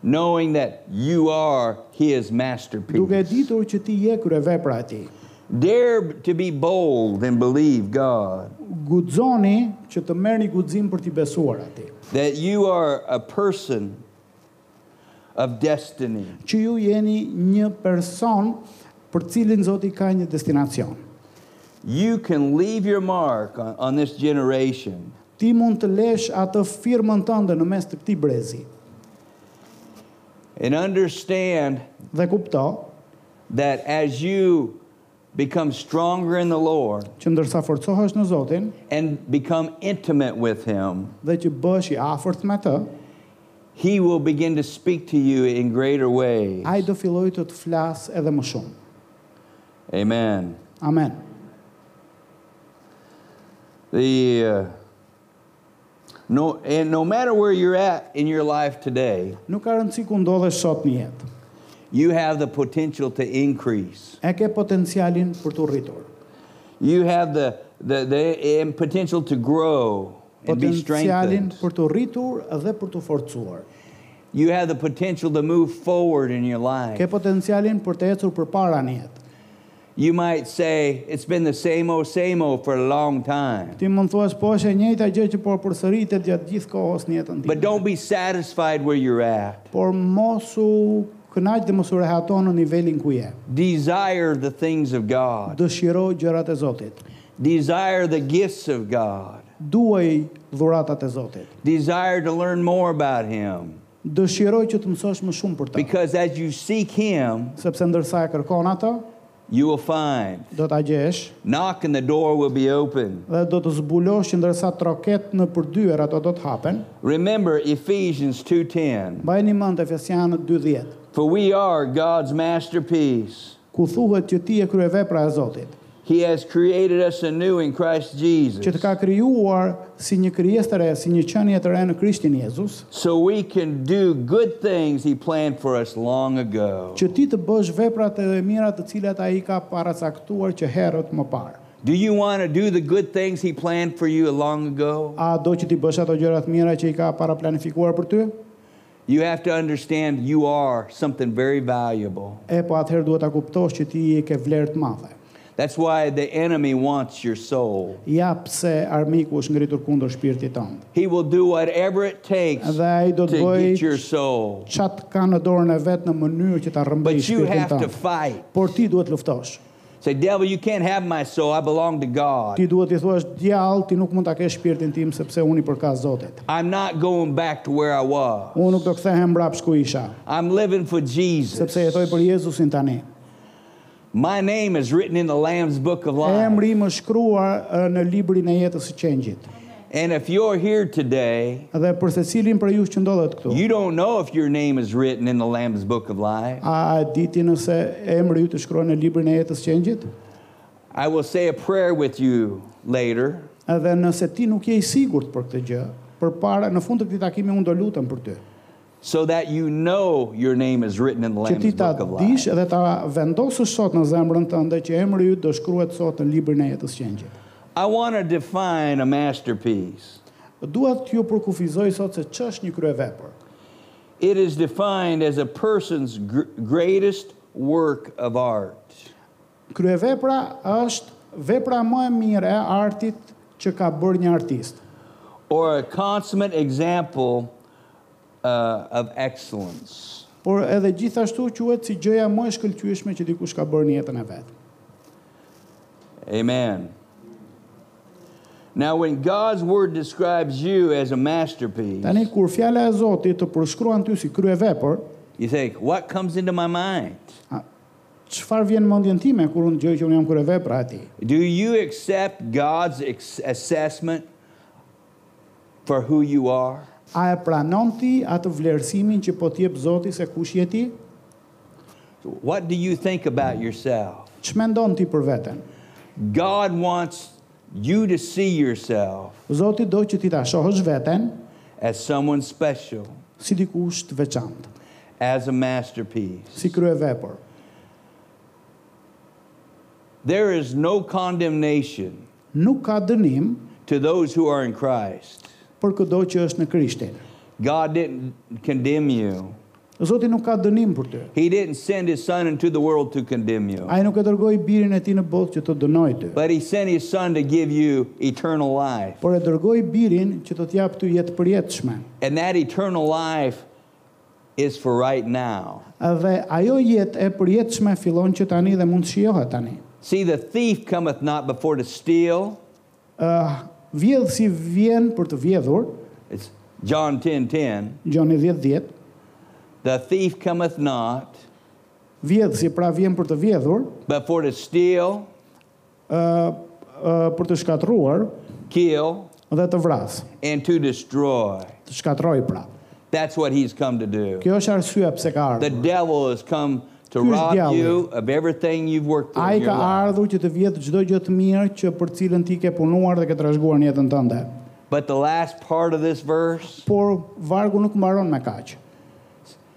[SPEAKER 2] knowing that you are His
[SPEAKER 3] duke
[SPEAKER 2] masterpiece.
[SPEAKER 3] ditur që ti je kryevepra e tij.
[SPEAKER 2] Dare to be bold and believe God
[SPEAKER 3] Guxoni që të merrni guxim për t'i besuar atij,
[SPEAKER 2] that you are a person of destiny.
[SPEAKER 3] që ju jeni një person për cilin Zoti ka një destinacion.
[SPEAKER 2] You can leave your mark on, on this generation
[SPEAKER 3] Ti mund të lesh atë firmën tënde në mes të këtij brezi
[SPEAKER 2] and understand
[SPEAKER 3] dhe kupto
[SPEAKER 2] that as you become stronger in the Lord
[SPEAKER 3] që ndërsa forcohesh në Zotin
[SPEAKER 2] and become intimate with Him,
[SPEAKER 3] dhe që bësh i afërt me të,
[SPEAKER 2] He will begin to speak to you in greater ways.
[SPEAKER 3] ai do filloj të të flas edhe më shumë.
[SPEAKER 2] Amen.
[SPEAKER 3] Amen.
[SPEAKER 2] The uh, no, and no matter where you're at in your life today,
[SPEAKER 3] Nuk ka rëndësi ku ndodhesh sot në jetë.
[SPEAKER 2] you have the potential to increase.
[SPEAKER 3] E ke potencialin për të rritur,
[SPEAKER 2] You have the the, the and potential to grow and be
[SPEAKER 3] potencialin
[SPEAKER 2] strengthened.
[SPEAKER 3] për të rritur dhe për të forcuar.
[SPEAKER 2] You have the potential to move forward in your
[SPEAKER 3] Ke
[SPEAKER 2] life.
[SPEAKER 3] potencialin për të ecur përpara në jetë.
[SPEAKER 2] You might say it's been the same old same old for a long time.
[SPEAKER 3] Ti mund thuash po është e njëjta gjë që po përsëritet gjatë gjithë kohës në jetën
[SPEAKER 2] But
[SPEAKER 3] time.
[SPEAKER 2] don't be satisfied where you're at.
[SPEAKER 3] Por mos u kënaq dhe mos u rehato në nivelin ku je.
[SPEAKER 2] Desire the things of God.
[SPEAKER 3] Dëshiro gjërat e Zotit.
[SPEAKER 2] Desire the gifts of God.
[SPEAKER 3] Duaj dhuratat e Zotit.
[SPEAKER 2] Desire to learn more about him.
[SPEAKER 3] Dëshiroj që të mësosh më shumë për ta.
[SPEAKER 2] Because as you seek him,
[SPEAKER 3] Sepse ndërsa e kërkon atë,
[SPEAKER 2] you will find.
[SPEAKER 3] do ta gjesh
[SPEAKER 2] Knock and the door will be open.
[SPEAKER 3] dhe do të zbulosh që ndërsa troket në përdyer ato do të hapen.
[SPEAKER 2] Remember Ephesians 2:10.
[SPEAKER 3] Mbajeni mend Efesianët 2:10,
[SPEAKER 2] For we are God's masterpiece.
[SPEAKER 3] ku thuhet që ti je kryevepra e Zotit,
[SPEAKER 2] He has created us anew in Christ
[SPEAKER 3] që të
[SPEAKER 2] Jesus.
[SPEAKER 3] ka krijuar si një krijesë të re, si një qenie të re në Krishtin Jezus,
[SPEAKER 2] So we can do good things he planned for us long ago.
[SPEAKER 3] që ti të bësh veprat e mira të cilat ai ka paracaktuar që herët më parë.
[SPEAKER 2] Do you want to do the good things he planned for you long ago?
[SPEAKER 3] A do që ti bësh ato gjërat mira që i ka para planifikuar për ty?
[SPEAKER 2] You have to understand you are something very valuable.
[SPEAKER 3] E po atëherë duhet ta kuptosh që ti i ke vlerë të madhe.
[SPEAKER 2] That's why the enemy wants your soul.
[SPEAKER 3] Ja pse armiku është ngritur kundër shpirtit tënd.
[SPEAKER 2] He will do whatever it takes
[SPEAKER 3] Dhe ai do të
[SPEAKER 2] to get your
[SPEAKER 3] bëjë
[SPEAKER 2] soul.
[SPEAKER 3] çat ka në dorën e vet në mënyrë që ta rrëmbëj
[SPEAKER 2] But you
[SPEAKER 3] shpirtin
[SPEAKER 2] have to
[SPEAKER 3] tënd.
[SPEAKER 2] fight.
[SPEAKER 3] Por ti duhet luftosh.
[SPEAKER 2] Say, devil, you can't have my soul. I belong to God.
[SPEAKER 3] Ti duhet i thuash djall, ti nuk mund ta kesh shpirtin tim sepse unë i përkas Zotit.
[SPEAKER 2] I'm not going back to where I was.
[SPEAKER 3] Unë nuk do kthehem mbrapsht ku isha,
[SPEAKER 2] I'm living for Jesus.
[SPEAKER 3] sepse jetoj për Jezusin tani.
[SPEAKER 2] My name is written in the Lamb's Book of Life.
[SPEAKER 3] Emri më shkruar e, në librin e jetës së qengjit.
[SPEAKER 2] And if you're here today,
[SPEAKER 3] Dhe për secilin për ju që ndodhet këtu.
[SPEAKER 2] you don't know if your name is written in the Lamb's Book of Life.
[SPEAKER 3] A e diti nëse emri ju të shkruar në librin e jetës së qengjit?
[SPEAKER 2] I will say a prayer with you later.
[SPEAKER 3] Edhe nëse ti nuk je i sigurt për këtë gjë, përpara në fund të këtij takimi unë do lutem për ty,
[SPEAKER 2] so that you know your name is written in the
[SPEAKER 3] që ti
[SPEAKER 2] Lamb's
[SPEAKER 3] ta
[SPEAKER 2] Book of Life.
[SPEAKER 3] dish edhe ta vendosësh sot në zemrën tënde që emri yt do shkruhet sot në librin e jetës së qengjit.
[SPEAKER 2] I want to define a masterpiece.
[SPEAKER 3] Dua t'ju përkufizoj sot se ç'është një kryevepër.
[SPEAKER 2] It is defined as a person's gr- greatest work of art.
[SPEAKER 3] Kryevepra është vepra më e mirë e artit që ka bërë një artist
[SPEAKER 2] Or a consummate example uh, of excellence.
[SPEAKER 3] por edhe gjithashtu quhet si gjëja më e shkëlqyeshme që dikush ka bërë në jetën e vet.
[SPEAKER 2] Amen. Now, when God's word describes you as a masterpiece,
[SPEAKER 3] Tani kur fjala e Zotit të përshkruan ty si kryevepër,
[SPEAKER 2] you think, what comes into my mind?
[SPEAKER 3] a, çfarë vjen në mendjen time kur unë dëgjoj që unë jam kryevepra e tij?
[SPEAKER 2] Do you accept God's ex- assessment for who you are?
[SPEAKER 3] A e pranon ti atë vlerësimin që po t'jep Zoti se kush je ti?
[SPEAKER 2] What do you think about yourself?
[SPEAKER 3] Ç'mendon ti për veten?
[SPEAKER 2] God wants you to see yourself
[SPEAKER 3] Zoti do që ti ta shohësh veten
[SPEAKER 2] as someone special,
[SPEAKER 3] si dikush të veçantë,
[SPEAKER 2] as a masterpiece.
[SPEAKER 3] si kryevepër.
[SPEAKER 2] There is no condemnation
[SPEAKER 3] Nuk ka dënim
[SPEAKER 2] to those who are in Christ.
[SPEAKER 3] për çdo që është në Krishtin.
[SPEAKER 2] God didn't condemn you.
[SPEAKER 3] Zoti nuk ka dënim për ty.
[SPEAKER 2] He didn't send his son into the world to condemn you,
[SPEAKER 3] Ai nuk e dërgoi birin e tij në botë që të dënoj ty,
[SPEAKER 2] but he sent his son to give you eternal life.
[SPEAKER 3] por e dërgoi birin që të t'jap ty jetë përjetshme.
[SPEAKER 2] And that eternal life is for right now.
[SPEAKER 3] Dhe ajo jetë e përjetshme fillon që tani dhe mund të shijohet tani.
[SPEAKER 2] See, the thief cometh not before to steal.
[SPEAKER 3] Ë vjedh si vjen për të vjedhur,
[SPEAKER 2] It's John 10 10.
[SPEAKER 3] Gjoni 10:10,
[SPEAKER 2] The thief cometh not
[SPEAKER 3] vjedhësi, pra vjen për të vjedhur,
[SPEAKER 2] but for to steal,
[SPEAKER 3] ë ë, për të shkatruar
[SPEAKER 2] kill,
[SPEAKER 3] dhe të vrasë,
[SPEAKER 2] and to destroy.
[SPEAKER 3] të shkatroj pra.
[SPEAKER 2] That's what he's come to do.
[SPEAKER 3] Kjo është arsyeja pse ka
[SPEAKER 2] The
[SPEAKER 3] ardhur.
[SPEAKER 2] devil has come to
[SPEAKER 3] Who's
[SPEAKER 2] rob
[SPEAKER 3] devil?
[SPEAKER 2] you of everything you've worked for.
[SPEAKER 3] Ai
[SPEAKER 2] in your
[SPEAKER 3] ka
[SPEAKER 2] life.
[SPEAKER 3] ardhur që të vjedh çdo gjë të mirë që për cilën ti ke punuar dhe ke trashëguar në jetën tënde.
[SPEAKER 2] But the last part of this verse
[SPEAKER 3] Por vargu nuk mbaron me kaq.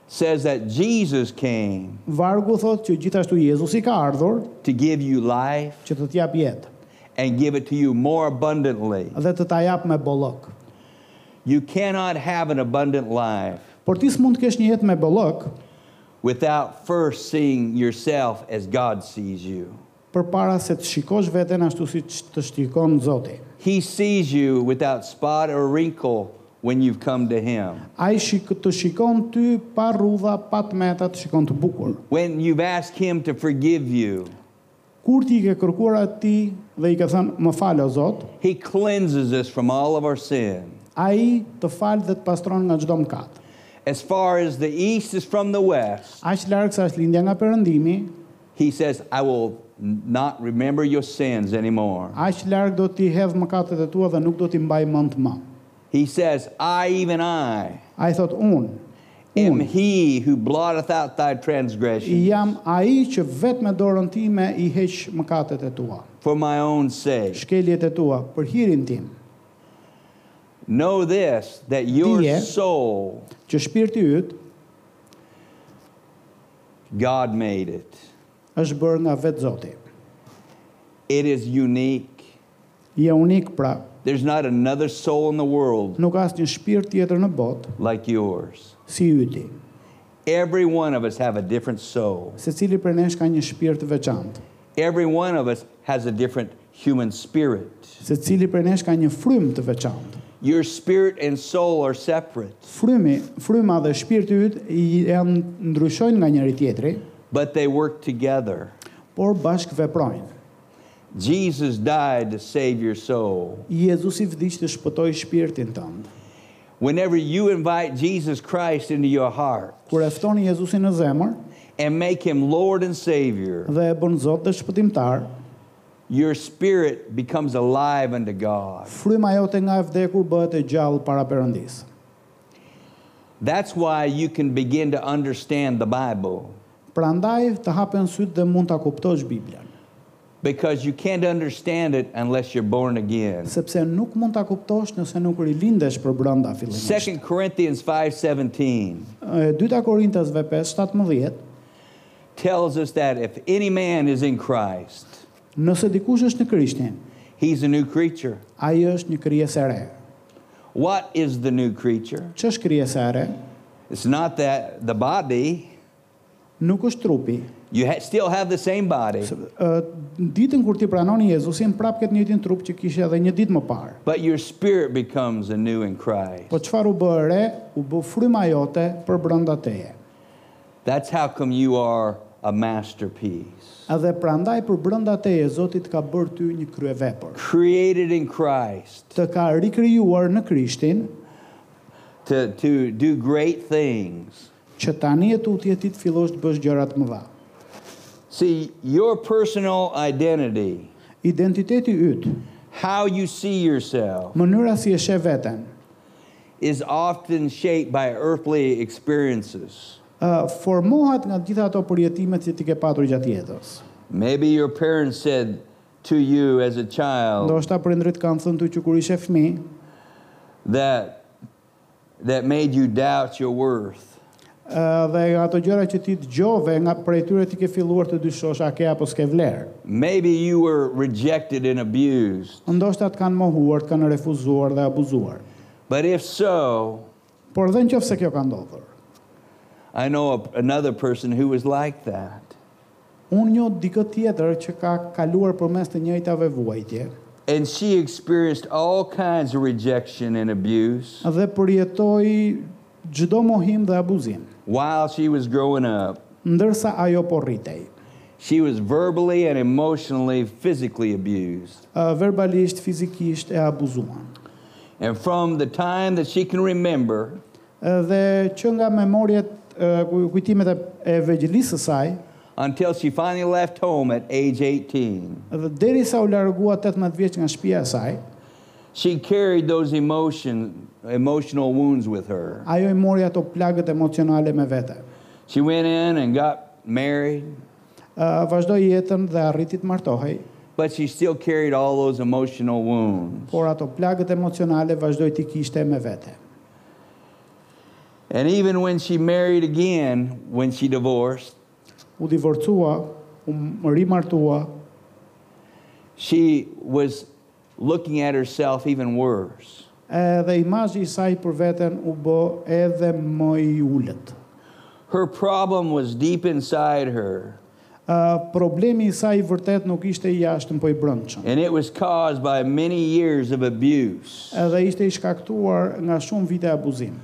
[SPEAKER 2] says that Jesus came
[SPEAKER 3] Vargu thotë që gjithashtu Jezusi ka ardhur
[SPEAKER 2] to give you life
[SPEAKER 3] që të t'jap jetë
[SPEAKER 2] and give it to you more abundantly.
[SPEAKER 3] dhe të ta jap me bollok.
[SPEAKER 2] You cannot have an abundant life
[SPEAKER 3] Por ti s'mund të kesh një jetë me bollok
[SPEAKER 2] without first seeing yourself as God sees you.
[SPEAKER 3] përpara se të shikosh veten ashtu si që të shikon Zoti.
[SPEAKER 2] He sees you without spot or wrinkle when you've come to Him.
[SPEAKER 3] Ai shik të shikon ty pa rrudha, pa tmeta, të shikon të bukur.
[SPEAKER 2] When you've asked Him to forgive you,
[SPEAKER 3] Kur ti i ke kërkuar atij dhe i ke thënë më fal o Zot,
[SPEAKER 2] He cleanses us from all of our sin.
[SPEAKER 3] ai të fal dhe të pastron nga çdo mëkat.
[SPEAKER 2] As far as the east is from the west,
[SPEAKER 3] Aq larg sa është lindja nga perëndimi,
[SPEAKER 2] He says, I will n- not remember your sins anymore.
[SPEAKER 3] aq larg do t'i hedh mëkatet e tua dhe nuk do t'i mbaj mend më.
[SPEAKER 2] He says, I, even I,
[SPEAKER 3] Ai thot unë,
[SPEAKER 2] am
[SPEAKER 3] unë
[SPEAKER 2] He who blotteth out thy
[SPEAKER 3] i
[SPEAKER 2] transgressions
[SPEAKER 3] jam ai që vetëm me dorën time i heq mëkatet e tua,
[SPEAKER 2] for my own sake.
[SPEAKER 3] shkeljet e tua për hirin tim,
[SPEAKER 2] Know this that your
[SPEAKER 3] Dije.
[SPEAKER 2] soul,
[SPEAKER 3] që shpirti yt
[SPEAKER 2] God made it.
[SPEAKER 3] është bërë nga vetë Zoti.
[SPEAKER 2] It is unique.
[SPEAKER 3] Je unik pra,
[SPEAKER 2] There's not another soul in the world
[SPEAKER 3] nuk asë një shpirt tjetër në botë
[SPEAKER 2] like yours.
[SPEAKER 3] si yti.
[SPEAKER 2] Every one of us have a different soul.
[SPEAKER 3] Se cili për nesh ka një shpirt të veçantë.
[SPEAKER 2] Every one of us has a different human spirit.
[SPEAKER 3] Se cili për nesh ka një frym të veçantë.
[SPEAKER 2] Your spirit and soul are separate,
[SPEAKER 3] Frymi, fryma dhe shpirti yt i- janë ndryshojnë nga njëri tjetri,
[SPEAKER 2] but they work together.
[SPEAKER 3] por bashkë veprojnë.
[SPEAKER 2] Jesus died to save your soul.
[SPEAKER 3] Jezusi vdiq të shpëtoj shpirtin tënd.
[SPEAKER 2] Whenever you invite Jesus Christ into your heart
[SPEAKER 3] Kur e ftoni Jezusin në zemër
[SPEAKER 2] and make him Lord and Savior,
[SPEAKER 3] dhe e bën Zot dhe shpëtimtar,
[SPEAKER 2] your spirit becomes alive unto God.
[SPEAKER 3] fryma jote nga e vdekur bëhet e gjallë para Perëndisë.
[SPEAKER 2] That's why you can begin to understand the Bible,
[SPEAKER 3] Prandaj të hapen sytë dhe mund ta kuptosh Biblën.
[SPEAKER 2] because you can't understand it unless you're born again.
[SPEAKER 3] sepse nuk mund ta kuptosh nëse nuk rilindesh për brenda fillimisht.
[SPEAKER 2] 2 Corinthians 5:17
[SPEAKER 3] E dyta Korintasve 5:17,
[SPEAKER 2] tells us that if any man is in Christ,
[SPEAKER 3] nëse dikush është në Krishtin,
[SPEAKER 2] he's a new creature.
[SPEAKER 3] ai është një krijesë e re.
[SPEAKER 2] What is the new creature?
[SPEAKER 3] Ç'është krijesë e re?
[SPEAKER 2] It's not that the body.
[SPEAKER 3] Nuk është trupi.
[SPEAKER 2] You ha- still have the same body,
[SPEAKER 3] Se- ë, në Ditën kur ti pranon Jezusin, prap këtë njëtin trup që kishe edhe një ditë më parë.
[SPEAKER 2] but your spirit becomes anew in Christ.
[SPEAKER 3] Po çfarë u bë e re? U bë fryma jote për brenda teje.
[SPEAKER 2] That's how come you are a masterpiece.
[SPEAKER 3] Edhe prandaj për brenda teje Zoti të ka bërë ty një kryevepër.
[SPEAKER 2] Created in Christ
[SPEAKER 3] Të ka rikrijuar në Krishtin
[SPEAKER 2] to, to do great things.
[SPEAKER 3] që tani e tutje ti të fillosh të bësh gjëra të mëdha.
[SPEAKER 2] See, your personal identity,
[SPEAKER 3] Identiteti yt,
[SPEAKER 2] how you see yourself,
[SPEAKER 3] mënyra si e sheh veten,
[SPEAKER 2] is often shaped by earthly experiences.
[SPEAKER 3] ë, formohet nga gjitha ato përjetimet që ti ke patur gjatë jetës.
[SPEAKER 2] Maybe your parents said to you as a child
[SPEAKER 3] Ndoshta prindrit kanë thënë ty që kur ishe fëmijë,
[SPEAKER 2] that, that made you doubt your worth.
[SPEAKER 3] ë, dhe ato gjëra që ti dëgjove nga prej tyre ti ke filluar të dyshosh a ke apo s'ke vlerë.
[SPEAKER 2] Maybe you were rejected and abused.
[SPEAKER 3] Ndoshta të kanë mohuar, të kanë refuzuar dhe abuzuar.
[SPEAKER 2] But if so,
[SPEAKER 3] Por dhe nëse kjo ka ndodhur,
[SPEAKER 2] I know a, another person who was like that.
[SPEAKER 3] unë njoh dikë tjetër që ka kaluar përmes të njëjtave vuajtje
[SPEAKER 2] And she experienced all kinds of rejection and abuse
[SPEAKER 3] dhe përjetoi çdo mohim dhe abuzim,
[SPEAKER 2] while she was growing up.
[SPEAKER 3] ndërsa ajo po rritej.
[SPEAKER 2] She was verbally and emotionally, physically abused.
[SPEAKER 3] uh, verbalisht, fizikisht e abuzuan.
[SPEAKER 2] And from the time that she can remember,
[SPEAKER 3] Dhe që nga memorjet, uh, ku- kujtimet e- e vegjelisë së saj,
[SPEAKER 2] until she finally left home at age 18.
[SPEAKER 3] Dhe derisa u largua 18 vjeç nga shtëpia e saj,
[SPEAKER 2] She carried those emotion, emotional wounds with her.
[SPEAKER 3] ajo i mori ato plagët emocionale me vete.
[SPEAKER 2] She went in and got married,
[SPEAKER 3] Uh, vazhdoi jetën dhe arriti të martohej,
[SPEAKER 2] but she still carried all those emotional wounds.
[SPEAKER 3] por ato plagët emocionale vazhdoi t'i kishte me vete.
[SPEAKER 2] And even when she married again, when she divorced,
[SPEAKER 3] U divorcua, u m- rimartua,
[SPEAKER 2] she was looking at herself even worse.
[SPEAKER 3] edhe imazhi i saj për veten u bë edhe më i ulët.
[SPEAKER 2] Her problem was deep inside her,
[SPEAKER 3] Ë, problemi i saj vërtet nuk ishte i jashtëm, po i brëndshëm.
[SPEAKER 2] and it was caused by many years of abuse.
[SPEAKER 3] Edhe ishte i shkaktuar nga shumë vite abuzim.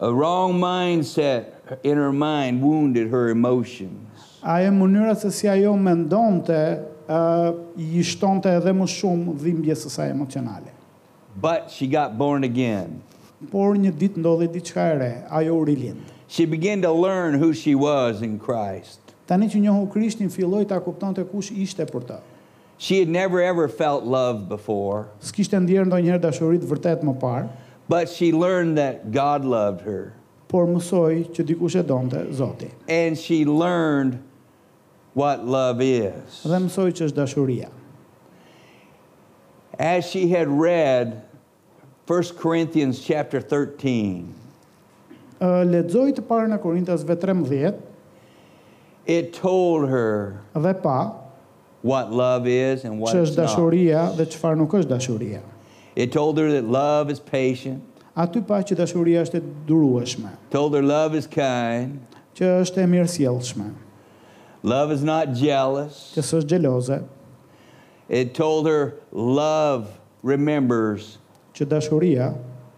[SPEAKER 2] A wrong mindset in her mind wounded her emotions.
[SPEAKER 3] Ajo mënyra se si ajo mendonte, ë i shtonte edhe më shumë dhimbjes së saj emocionale.
[SPEAKER 2] But she got born again.
[SPEAKER 3] Por një ditë ndodhi diçka e re, ajo u rilind.
[SPEAKER 2] She began to learn who she was in Christ.
[SPEAKER 3] Tani që njohu Krishtin, filloi ta kuptonte kush ishte për të.
[SPEAKER 2] She had never ever felt love before,
[SPEAKER 3] S'kishte ndjerë ndonjëherë dashuri të vërtet më parë,
[SPEAKER 2] but she learned that God loved her.
[SPEAKER 3] por mësoi që dikush e donte Zoti.
[SPEAKER 2] And she learned what love is.
[SPEAKER 3] Dhe mësoi që është dashuria.
[SPEAKER 2] As she had read 1 Corinthians chapter 13,
[SPEAKER 3] Ë, Lexoi të parë në Korintasve 13
[SPEAKER 2] it told her
[SPEAKER 3] dhe pa
[SPEAKER 2] what love is and what
[SPEAKER 3] që
[SPEAKER 2] it's
[SPEAKER 3] është
[SPEAKER 2] not.
[SPEAKER 3] dashuria dhe çfarë nuk është dashuria.
[SPEAKER 2] It told her that love is patient,
[SPEAKER 3] Aty pa që dashuria është e durueshme,
[SPEAKER 2] told her love is kind,
[SPEAKER 3] që është e mirësjellshme,
[SPEAKER 2] love is not jealous.
[SPEAKER 3] që s'është xheloze,
[SPEAKER 2] It told her love remembers,
[SPEAKER 3] që dashuria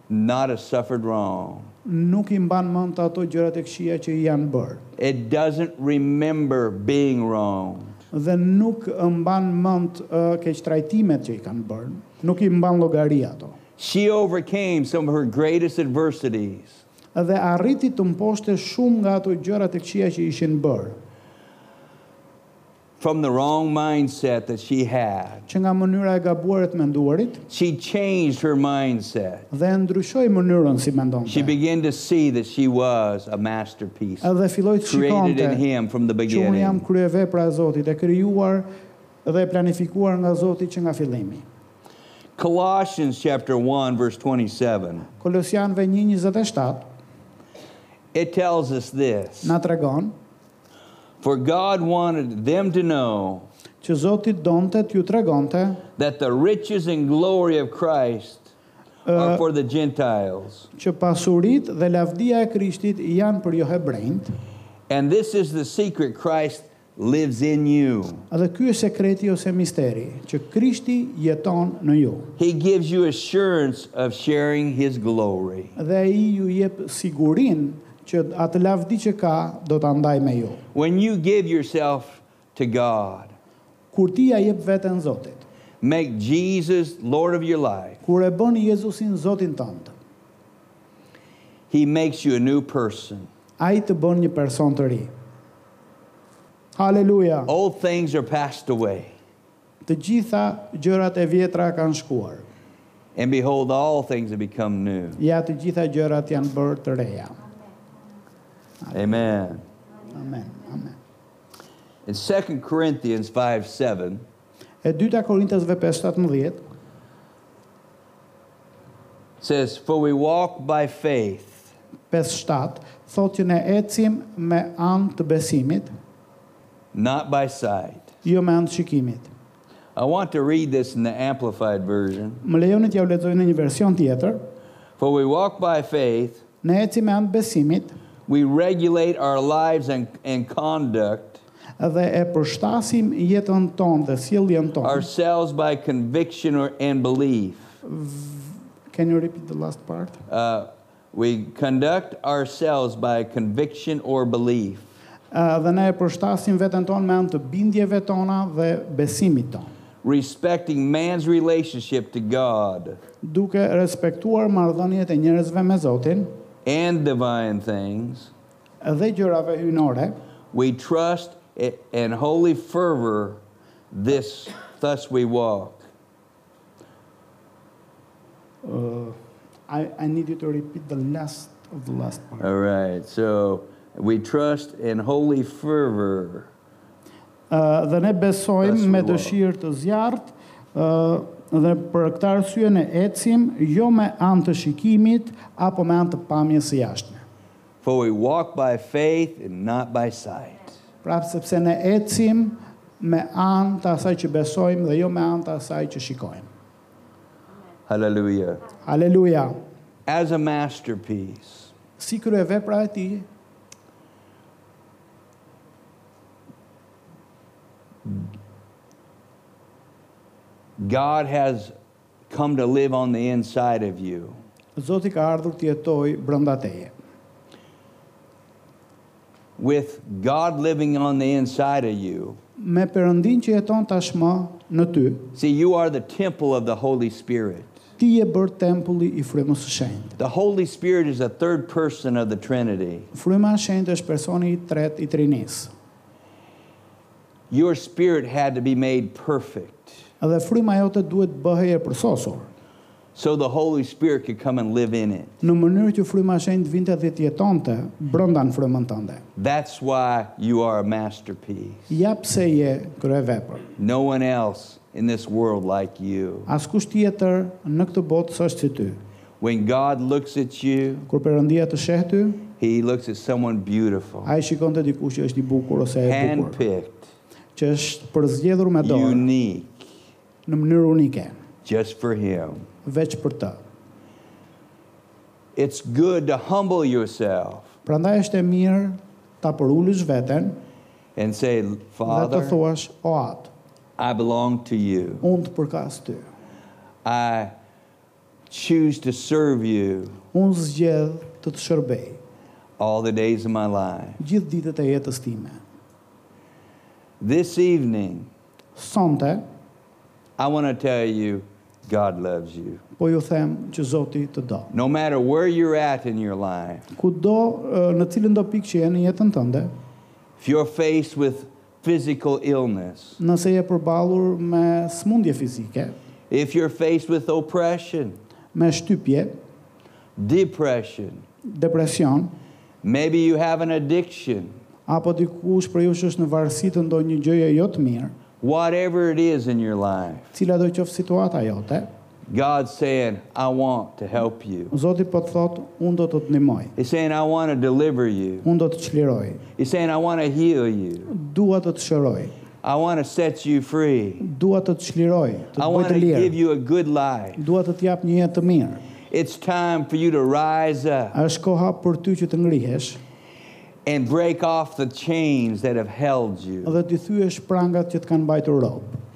[SPEAKER 2] not a suffered wrong.
[SPEAKER 3] nuk i mban mend të ato gjërat e këqija që i janë bërë
[SPEAKER 2] It doesn't remember being wrong.
[SPEAKER 3] dhe nuk mban mend uh, keqtrajtimet që i kanë bërë, nuk i mban llogari ato.
[SPEAKER 2] She overcame some of her greatest adversities
[SPEAKER 3] Dhe arriti të mposhte shumë nga ato gjërat e këqija që ishin bërë,
[SPEAKER 2] from the wrong mindset that she had.
[SPEAKER 3] që nga mënyra e gabuar e të menduarit
[SPEAKER 2] She changed her mindset.
[SPEAKER 3] dhe e ndryshoi mënyrën si
[SPEAKER 2] She
[SPEAKER 3] mendonte.
[SPEAKER 2] began to see that she was a masterpiece
[SPEAKER 3] Edhe filloi të
[SPEAKER 2] created
[SPEAKER 3] shikonte
[SPEAKER 2] in Him from the
[SPEAKER 3] që unë
[SPEAKER 2] beginning.
[SPEAKER 3] jam kryevepra e Zotit, e krijuar dhe e planifikuar nga Zoti që nga fillimi.
[SPEAKER 2] Colossians chapter 1, verse 27.
[SPEAKER 3] Kolosianëve 1:27
[SPEAKER 2] It tells us this
[SPEAKER 3] na tregon
[SPEAKER 2] For God wanted them to know
[SPEAKER 3] që Zoti donte t'ju tregonte
[SPEAKER 2] that the riches and glory of Christ are
[SPEAKER 3] Uh,
[SPEAKER 2] for the Gentiles.
[SPEAKER 3] që pasurit dhe lavdia e Krishtit janë për jo hebrejt.
[SPEAKER 2] And this is the secret Christ lives in you.
[SPEAKER 3] Edhe ky është sekreti ose misteri, që Krishti jeton në ju.
[SPEAKER 2] He gives you assurance of sharing His glory.
[SPEAKER 3] Dhe ai ju jep sigurinë që atë lavdi që ka do ta ndaj me ju.
[SPEAKER 2] When you give yourself to God,
[SPEAKER 3] Kur ti ja jep veten Zotit,
[SPEAKER 2] make Jesus Lord of your life,
[SPEAKER 3] kur e bën Jezusin Zotin tënd,
[SPEAKER 2] He makes you a new person.
[SPEAKER 3] ai të bën një person të ri. Haleluja.
[SPEAKER 2] Old things are passed away,
[SPEAKER 3] Të gjitha gjërat e vjetra kanë shkuar.
[SPEAKER 2] and behold, all things have become new.
[SPEAKER 3] Ja të gjitha gjërat janë bërë të reja.
[SPEAKER 2] Amen.
[SPEAKER 3] Amen. Amen.
[SPEAKER 2] In 2 Corinthians 5 7,
[SPEAKER 3] E dyta Korintasve 5:17
[SPEAKER 2] says, For we walk by faith,
[SPEAKER 3] 5:7 thotë që ne ecim me anë të besimit,
[SPEAKER 2] not by sight.
[SPEAKER 3] jo me anë të shikimit.
[SPEAKER 2] I want to read this in the Amplified Version.
[SPEAKER 3] Më lejoni t'ja u lexoj në një version tjetër.
[SPEAKER 2] For we walk by faith,
[SPEAKER 3] Ne ecim me anë të besimit
[SPEAKER 2] we regulate our lives and, and conduct
[SPEAKER 3] dhe e përshtasim jetën tonë dhe sjelljen tonë.
[SPEAKER 2] ourselves by conviction or, and belief.
[SPEAKER 3] Can you repeat the last part?
[SPEAKER 2] Uh, we conduct ourselves by conviction or belief.
[SPEAKER 3] Ë, dhe ne e përshtasim veten tonë me anë të bindjeve tona dhe besimit tonë,
[SPEAKER 2] respecting man's relationship to God
[SPEAKER 3] duke respektuar marrëdhëniet e njerëzve me Zotin
[SPEAKER 2] and divine things,
[SPEAKER 3] dhe gjërave hyjnore,
[SPEAKER 2] we trust a- and holy fervor, this thus we walk.
[SPEAKER 3] Uh, I, I need you to repeat the last of the last part.
[SPEAKER 2] All right. So we trust in holy fervor.
[SPEAKER 3] Uh, dhe ne besojmë
[SPEAKER 2] Besu,
[SPEAKER 3] me
[SPEAKER 2] wow.
[SPEAKER 3] dëshirë të zjarrt, uh, dhe për këtë arsye ne ecim jo me anë të shikimit apo me anë të pamjes së jashtme.
[SPEAKER 2] For we walk by faith and not by sight.
[SPEAKER 3] Prapë sepse ne ecim me anë të asaj që besojmë dhe jo me anë të asaj që shikojmë.
[SPEAKER 2] Hallelujah.
[SPEAKER 3] Aleluja.
[SPEAKER 2] As a masterpiece,
[SPEAKER 3] Si kryevepra e tij
[SPEAKER 2] God has come to live on the inside of you.
[SPEAKER 3] Zoti ka ardhur të jetoj brenda teje.
[SPEAKER 2] With God living on the inside of you,
[SPEAKER 3] Me Perëndin që jeton tashmë në ty,
[SPEAKER 2] see, you are the temple of the Holy Spirit.
[SPEAKER 3] ti je bërë tempulli i frymës së shenjtë.
[SPEAKER 2] The Holy Spirit is the third person of the Trinity.
[SPEAKER 3] Fryma e shenjtë është personi i tretë i Trinisë.
[SPEAKER 2] Your spirit had to be made perfect
[SPEAKER 3] Dhe fryma jote duhet bëhej e përsosur
[SPEAKER 2] so the Holy Spirit could come and live in it.
[SPEAKER 3] në mënyrë që fryma e shenjtë vinte dhe të jetonte brenda në frymën tënde.
[SPEAKER 2] That's why you are a masterpiece.
[SPEAKER 3] Ja pse je kryevepër.
[SPEAKER 2] No one else in this world like you.
[SPEAKER 3] Askush tjetër në këtë botë s'është si ty.
[SPEAKER 2] When God looks at you,
[SPEAKER 3] Kur Perëndia të sheh ty,
[SPEAKER 2] He looks at someone beautiful,
[SPEAKER 3] ai shikon te dikush që është i bukur ose e bukur,
[SPEAKER 2] handpicked,
[SPEAKER 3] që është përzgjedhur me dorë
[SPEAKER 2] unique,
[SPEAKER 3] në mënyrë unike,
[SPEAKER 2] just for Him.
[SPEAKER 3] veç për të.
[SPEAKER 2] It's good to humble yourself
[SPEAKER 3] Prandaj është e mirë ta përulësh veten
[SPEAKER 2] and say,
[SPEAKER 3] dhe të
[SPEAKER 2] Father,
[SPEAKER 3] thuash, o atë,
[SPEAKER 2] I belong to you.
[SPEAKER 3] unë të përkas ty.
[SPEAKER 2] I choose to serve you
[SPEAKER 3] Unë zgjedh të të shërbej
[SPEAKER 2] all the days of my life.
[SPEAKER 3] gjithë ditët e jetës time.
[SPEAKER 2] This evening,
[SPEAKER 3] Sonte,
[SPEAKER 2] I want to tell you, God loves you.
[SPEAKER 3] po ju them që Zoti të do.
[SPEAKER 2] No matter where you're at in your life,
[SPEAKER 3] Kudo ë, në cilin do pikë që je në jetën tënde,
[SPEAKER 2] if you're faced with physical illness,
[SPEAKER 3] nëse je përballur me smundje fizike,
[SPEAKER 2] if you're faced with oppression,
[SPEAKER 3] me shtypje,
[SPEAKER 2] depression,
[SPEAKER 3] depresion,
[SPEAKER 2] maybe you have an addiction,
[SPEAKER 3] apo dikush për ju që është në varësi të ndonjë gjëje jo të mirë,
[SPEAKER 2] whatever it is in your life,
[SPEAKER 3] cila do qoftë situata jote,
[SPEAKER 2] God's saying, I want to help you.
[SPEAKER 3] Zoti po të thotë, unë do të të ndihmoj.
[SPEAKER 2] He's saying, I want to deliver you.
[SPEAKER 3] Unë do të çliroj.
[SPEAKER 2] He's saying, I want to heal you.
[SPEAKER 3] Dua të të shëroj.
[SPEAKER 2] I want to set you free.
[SPEAKER 3] Dua të të çliroj,
[SPEAKER 2] I
[SPEAKER 3] të të bëj
[SPEAKER 2] want
[SPEAKER 3] të
[SPEAKER 2] to give
[SPEAKER 3] lirë.
[SPEAKER 2] you a good life.
[SPEAKER 3] Dua të të jap një jetë të mirë.
[SPEAKER 2] It's time for you to rise up
[SPEAKER 3] Është koha për ty që të ngrihesh
[SPEAKER 2] and break off the chains that have held you.
[SPEAKER 3] dhe të thyesh prangat që të kanë mbajtur rob.